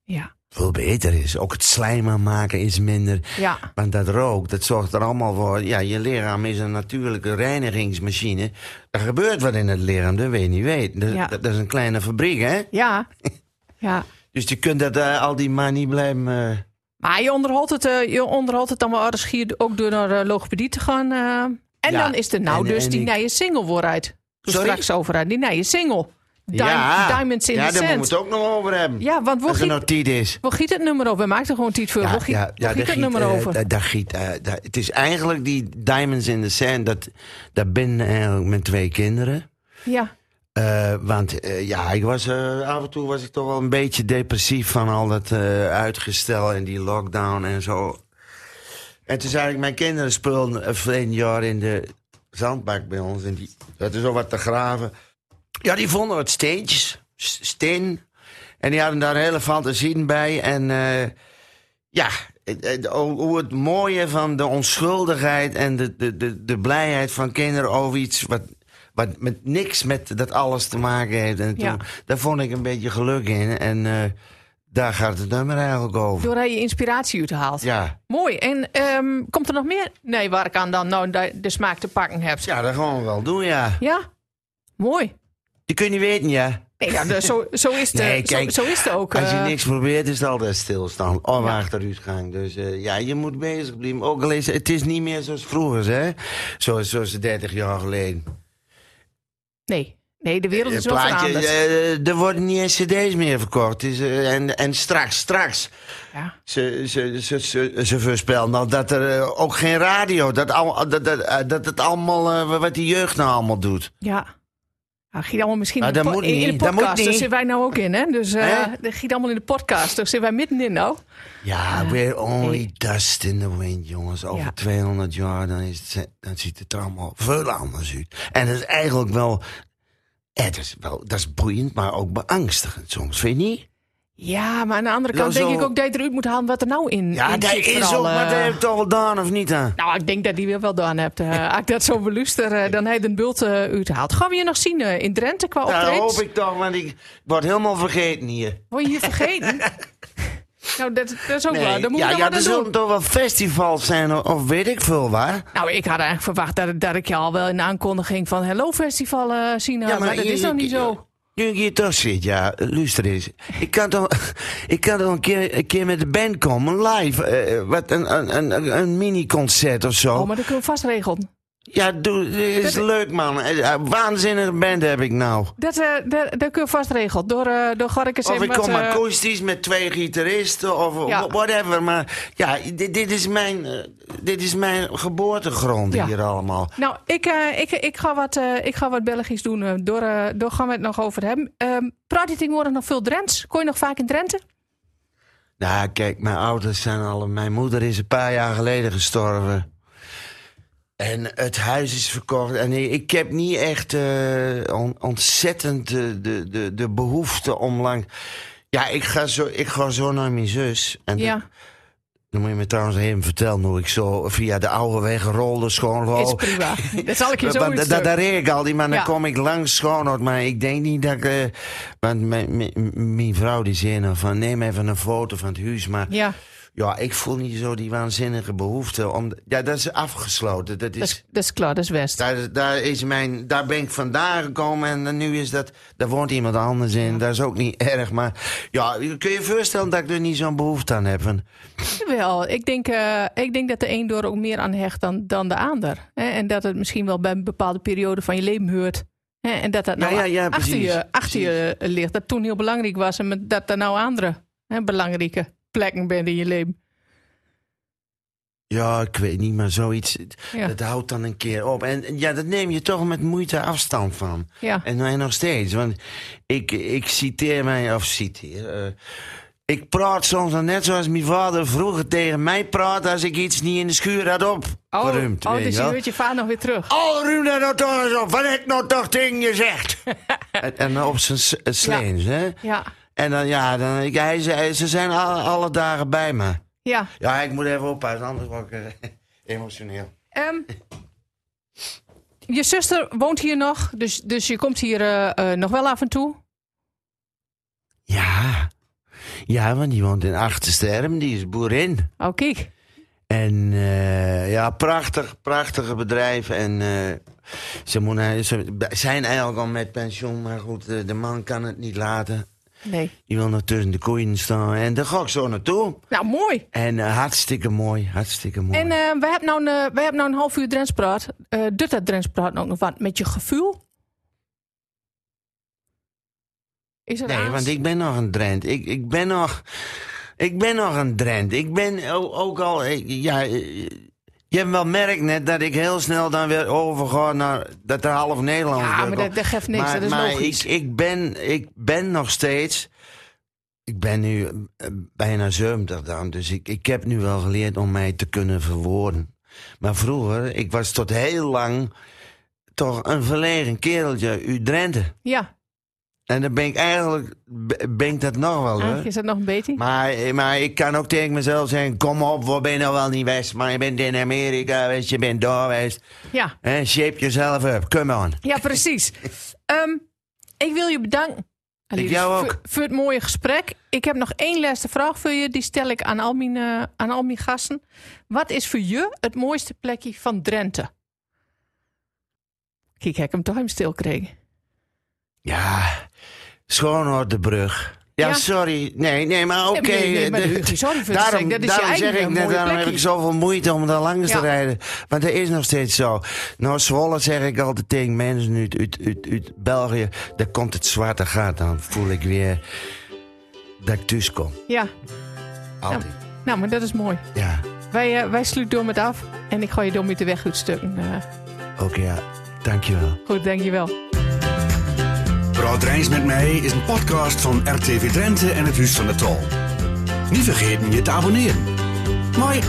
Speaker 2: Ja.
Speaker 1: veel beter is. Ook het slijm aanmaken is minder.
Speaker 2: Ja.
Speaker 1: Want dat rook, dat zorgt er allemaal voor. Ja, je lichaam is een natuurlijke reinigingsmachine. Er gebeurt wat in het lichaam, dat weet je niet weet. Dat,
Speaker 2: Ja.
Speaker 1: dat, dat is een kleine fabriek, hè?
Speaker 2: Ja. Ja.
Speaker 1: Dus je kunt dat, eh, al die maar niet blijven. eh,
Speaker 2: Maar je onderhoudt het, eh, je onderhoudt het dan wel aardig schier ook door naar eh, logopedie te gaan. eh. en
Speaker 1: Ja,
Speaker 2: dan is er nou
Speaker 1: en-
Speaker 2: dus
Speaker 1: en
Speaker 2: die
Speaker 1: ik-
Speaker 2: nieuwe single vooruit. Dus
Speaker 1: Sorry?
Speaker 2: straks over uit, die nieuwe single. Dim- Diamonds in
Speaker 1: ja,
Speaker 2: the
Speaker 1: daar moeten
Speaker 2: Sand.
Speaker 1: we het ook nog over hebben.
Speaker 2: Ja, want we
Speaker 1: Als er
Speaker 2: giet,
Speaker 1: nog tijd is. dus.
Speaker 2: we giet het nummer over. We maken er gewoon tijd voor. we giet, we giet
Speaker 1: daar
Speaker 2: het nummer
Speaker 1: eh,
Speaker 2: over.
Speaker 1: daar- daar giet, eh, daar- het is eigenlijk die Diamonds in the Sand. Dat, daar ben ik eigenlijk met twee kinderen.
Speaker 2: ja,
Speaker 1: Eh, want eh, ja, ik was, eh, af en toe was ik toch wel een beetje depressief van al dat eh, uitgestel en die lockdown en zo. En toen zei ik, mijn kinderen speelden eh, verleden jaar in de zandbak bij ons. En die, dat is al wat te graven. Ja, die vonden wat steentjes, s- steen. En die hadden daar hele fantasieën bij. En eh, ja, eh, eh, hoe- hoe het mooie van de onschuldigheid en de, de, de, de blijheid van kinderen over iets wat, wat met niks met dat alles te maken heeft. En toen,
Speaker 2: Ja.
Speaker 1: daar vond ik een beetje geluk in. En eh, daar gaat het nummer eigenlijk over.
Speaker 2: door hij je inspiratie uit te haalt.
Speaker 1: Ja.
Speaker 2: Mooi. En ehm, komt er nog meer? Nee, waar ik aan dan nou de, de smaak te pakken heb.
Speaker 1: ja, dat gaan we wel doen, ja.
Speaker 2: Ja? Mooi.
Speaker 1: Je kunt niet weten, ja.
Speaker 2: Nee, ja, de- zo, zo, is het, eh,
Speaker 1: Nee, kijk,
Speaker 2: zo, zo is het ook.
Speaker 1: Als je
Speaker 2: eh,
Speaker 1: niks probeert, is het altijd Oh, stilstand. Of achteruitgang. Dus eh, ja, je moet bezig blijven. Ook al is het is niet meer zoals vroeger, hè? Zoals, zoals 30 jaar geleden.
Speaker 2: Nee. Nee, de wereld is
Speaker 1: Het
Speaker 2: wel
Speaker 1: Eh, plaatje,
Speaker 2: veranderd.
Speaker 1: eh, er worden niet eens cd's meer verkocht. Dus, eh, en, en straks, straks.
Speaker 2: Ja.
Speaker 1: Ze, ze, ze, ze, ze voorspellen nou dat er eh, ook geen radio... Dat, al, dat, dat, eh, dat het allemaal, eh, wat die jeugd nou allemaal doet.
Speaker 2: ja. Nou, giet allemaal misschien
Speaker 1: Maar
Speaker 2: in, de
Speaker 1: dat
Speaker 2: po-
Speaker 1: moet
Speaker 2: in- in
Speaker 1: niet,
Speaker 2: de
Speaker 1: dat moet
Speaker 2: podcast. Daar
Speaker 1: niet.
Speaker 2: zitten wij nou ook in, hè? Dus eh
Speaker 1: Hè?
Speaker 2: dat giet allemaal in de podcast. Daar zitten wij middenin nou.
Speaker 1: Ja, we're only dust in the wind, jongens. Over
Speaker 2: Ja.
Speaker 1: 200 jaar, dan, is het, dan ziet het er allemaal veel anders uit. En dat is eigenlijk wel... eh, dat, is wel dat is boeiend, maar ook beangstigend soms, vind je niet?
Speaker 2: Ja, maar aan de andere
Speaker 1: Nou,
Speaker 2: kant
Speaker 1: zo-
Speaker 2: denk ik ook dat je eruit moet halen wat er nou in
Speaker 1: Ja,
Speaker 2: in
Speaker 1: dat
Speaker 2: zit
Speaker 1: is
Speaker 2: vooral,
Speaker 1: ook, maar
Speaker 2: eh.
Speaker 1: dat heb je toch wel gedaan, of niet? Hè?
Speaker 2: Nou, ik denk dat die weer wel gedaan hebt. eh. als ik dat zo beluister, eh, dan hij de bult eh, uithaalt. Gaan we je nog zien eh, in Drenthe qua
Speaker 1: Dat
Speaker 2: optredens?
Speaker 1: Nou, hoop ik toch, want ik word helemaal vergeten hier.
Speaker 2: Word je hier
Speaker 1: <laughs>
Speaker 2: vergeten? nou, dat, dat is ook wel. Dan moet
Speaker 1: ja, ja,
Speaker 2: je dan
Speaker 1: er
Speaker 2: wat aan
Speaker 1: zullen
Speaker 2: doen.
Speaker 1: toch wel festivals zijn, of, of weet ik veel waar.
Speaker 2: Nou, ik had eigenlijk verwacht dat, dat ik je al wel in de aankondiging van Hello Festival eh zien. had, maar, dat
Speaker 1: je-
Speaker 2: is nog niet
Speaker 1: je-
Speaker 2: zo.
Speaker 1: Nu ik hier toch zit, ja, luister eens. Ik kan toch, <laughs> ik kan toch een, keer, een keer met de band komen, live. eh, wat, een, een, een- een, een mini-concert of zo.
Speaker 2: Oh, maar dat kunnen we vast regelen.
Speaker 1: Ja, doe, dit is
Speaker 2: Dat-
Speaker 1: leuk, man. Eh, eh, Waanzinnige band heb ik nou.
Speaker 2: Dat, eh, dat, dat kunnen we vast regelen. Door, eh door Garkes
Speaker 1: Of ik kom
Speaker 2: eh,
Speaker 1: akoestisch met twee gitaristen of
Speaker 2: Ja.
Speaker 1: wh- whatever. Maar ja, dit, dit, is, mijn, eh, dit is mijn geboortegrond
Speaker 2: Ja.
Speaker 1: hier allemaal.
Speaker 2: Nou, ik, eh, ik, ik, ga wat, eh, ik ga wat Belgisch doen. eh, door, eh, door gaan we het nog over hebben. Ehm praat je tegenwoordig nog veel Drents? Kon je nog vaak in Drenthe?
Speaker 1: Nou, kijk, mijn ouders zijn al. Mijn moeder is een paar jaar geleden gestorven. En het huis is verkocht. En ik- ik heb niet echt eh, on- ontzettend de, de, de, de behoefte om lang. Ja, ik ga zo, ik ga zo naar mijn zus. En
Speaker 2: Ja.
Speaker 1: Dan moet je me trouwens even vertellen hoe ik zo via de oude wegen rolde, schoon.
Speaker 2: Is prima. <laughs> Dat zal ik je zo
Speaker 1: Want
Speaker 2: iets
Speaker 1: Oh. <laughs> dat, dat reed ik al, die man. Dan
Speaker 2: Ja.
Speaker 1: kom ik langs Schoonhoord. Maar ik denk niet dat ik... eh, want mijn- mijn mijn vrouw die zei nou van... Neem even een foto van het huis. Maar ja.
Speaker 2: Ja,
Speaker 1: ik voel niet zo die waanzinnige behoefte. Om, ja, dat is afgesloten. Dat is,
Speaker 2: dat is, dat is klaar, dat is West.
Speaker 1: daar, is- daar, is mijn, daar ben ik vandaan gekomen. En dan nu is dat... Daar woont iemand anders in. Dat is ook niet <laughs> erg. Maar ja, kun je je voorstellen dat ik er niet zo'n behoefte aan heb? En-
Speaker 2: Wel, ik denk, eh, ik denk dat de een door ook meer aan hecht dan, dan de ander. Hè? En dat het misschien wel bij een bepaalde periode van je leven hoort. Hè? En dat dat nou
Speaker 1: ja, ja,
Speaker 2: achter,
Speaker 1: precies.
Speaker 2: je, achter je ligt. Dat toen heel belangrijk was en met- dat er nou andere hè, belangrijke plekken bent in je leven.
Speaker 1: Ja, ik weet niet, maar zoiets...
Speaker 2: Ja,
Speaker 1: Dat houdt dan een keer op. En en ja, dat neem je toch met moeite afstand van.
Speaker 2: ja.
Speaker 1: En mij nog steeds. Want ik, ik citeer mij, of citeer. eh, ik praat soms dan net zoals mijn vader vroeger tegen mij praat. als ik iets niet in de schuur had op.
Speaker 2: Oh,
Speaker 1: geruimd,
Speaker 2: oh
Speaker 1: weet
Speaker 2: dus
Speaker 1: je
Speaker 2: je
Speaker 1: wel.
Speaker 2: hoort je vader nog weer terug.
Speaker 1: Oh, ruim dat nou toch eens op. Wat heb ik nou toch tegen je
Speaker 2: <laughs>
Speaker 1: gezegd? en, en op zijn s- eh, sleens, hè?
Speaker 2: Ja,
Speaker 1: En dan, ja, dan, ik, hij, zei, ze zijn alle, alle dagen bij me.
Speaker 2: ja.
Speaker 1: Ja, ik moet even oppassen, anders word ik eh, <laughs> emotioneel.
Speaker 2: Ehm, je zuster woont hier nog, dus, dus je komt hier eh, eh, nog wel af en toe.
Speaker 1: Ja. Ja, want die woont in Achtersterm, die is boerin.
Speaker 2: Oh, kijk.
Speaker 1: En eh, ja, prachtig, prachtige bedrijf. En eh, ze, moet naar- ze zijn eigenlijk al met pensioen, maar goed, eh, de, de man kan het niet laten.
Speaker 2: Nee.
Speaker 1: Die wil nog tussen de koeien staan. En daar ga ik zo naartoe.
Speaker 2: Nou, mooi.
Speaker 1: En eh, hartstikke mooi, hartstikke mooi.
Speaker 2: En eh we, hebben nou een, eh, we hebben nou een half uur Drents praat. Eh doet dat Drents praat ook nog wat met je gevoel? Is dat
Speaker 1: nee,
Speaker 2: aans-
Speaker 1: want ik ben nog een Drent. Ik, ik ben nog... Ik ben nog een Drent. Ik ben o- ook al... ik- Ja, eh, je hebt wel merkt net dat ik heel snel dan weer overga naar... Dat er half Nederland
Speaker 2: Ja, maar dat, dat geeft niks.
Speaker 1: maar
Speaker 2: dat is
Speaker 1: maar
Speaker 2: logisch.
Speaker 1: Ik, ik, ben, ik ben nog steeds. Ik ben nu eh, bijna 70 dan, dus ik, ik heb nu wel geleerd om mij te kunnen verwoorden. Maar vroeger, ik was tot heel lang toch een verlegen kereltje uit Drenthe.
Speaker 2: ja,
Speaker 1: En dan ben ik eigenlijk, be- ben ik dat nog wel hoor.
Speaker 2: Ah, is dat nog een beetje?
Speaker 1: Maar, eh, maar ik kan ook tegen mezelf zeggen, kom op, waar ben je nou wel niet best? Maar je bent in Amerika geweest, je bent daar geweest.
Speaker 2: ja.
Speaker 1: Eh, shape jezelf up, come on.
Speaker 2: ja,
Speaker 1: <laughs>
Speaker 2: precies. Ehm, ik wil je bedanken. Alice,
Speaker 1: jou
Speaker 2: voor-
Speaker 1: ook.
Speaker 2: Voor het mooie gesprek. Ik heb nog één laatste vraag voor je. Die stel ik aan al mijn, eh, aan al mijn gasten. Wat is voor je het mooiste plekje van Drenthe? Kijk, heb ik hem toch hem stil kregen.
Speaker 1: Ja, Schoonhoort de brug. Ja,
Speaker 2: Ja.
Speaker 1: sorry. Nee, nee, maar oké.
Speaker 2: Nee, nee, nee, maar
Speaker 1: de-
Speaker 2: Hugo, sorry voor het
Speaker 1: daarom
Speaker 2: zeggen. Dat is je
Speaker 1: daarom
Speaker 2: eigen
Speaker 1: zeg ik net,
Speaker 2: mooie
Speaker 1: daarom heb
Speaker 2: plekje.
Speaker 1: ik zoveel moeite om daar langs
Speaker 2: Ja.
Speaker 1: te rijden. Want dat is nog steeds zo. Nou, Zwolle zeg ik altijd tegen mensen uit, uit, uit, uit België. Daar komt het zwarte gat aan. Voel ik weer dat ik thuis kom.
Speaker 2: Ja,
Speaker 1: Altijd.
Speaker 2: nou, maar dat is mooi.
Speaker 1: Ja,
Speaker 2: Wij, eh, wij sluiten door met af. En ik gooi je door met de weg uit stukken. Eh,
Speaker 1: oké. ja. Dankjewel.
Speaker 2: goed, dankjewel.
Speaker 3: Praat Rijns met mij is een podcast van RTV Drenthe en het Huis van de Tal. Niet vergeten je te abonneren. Mooi.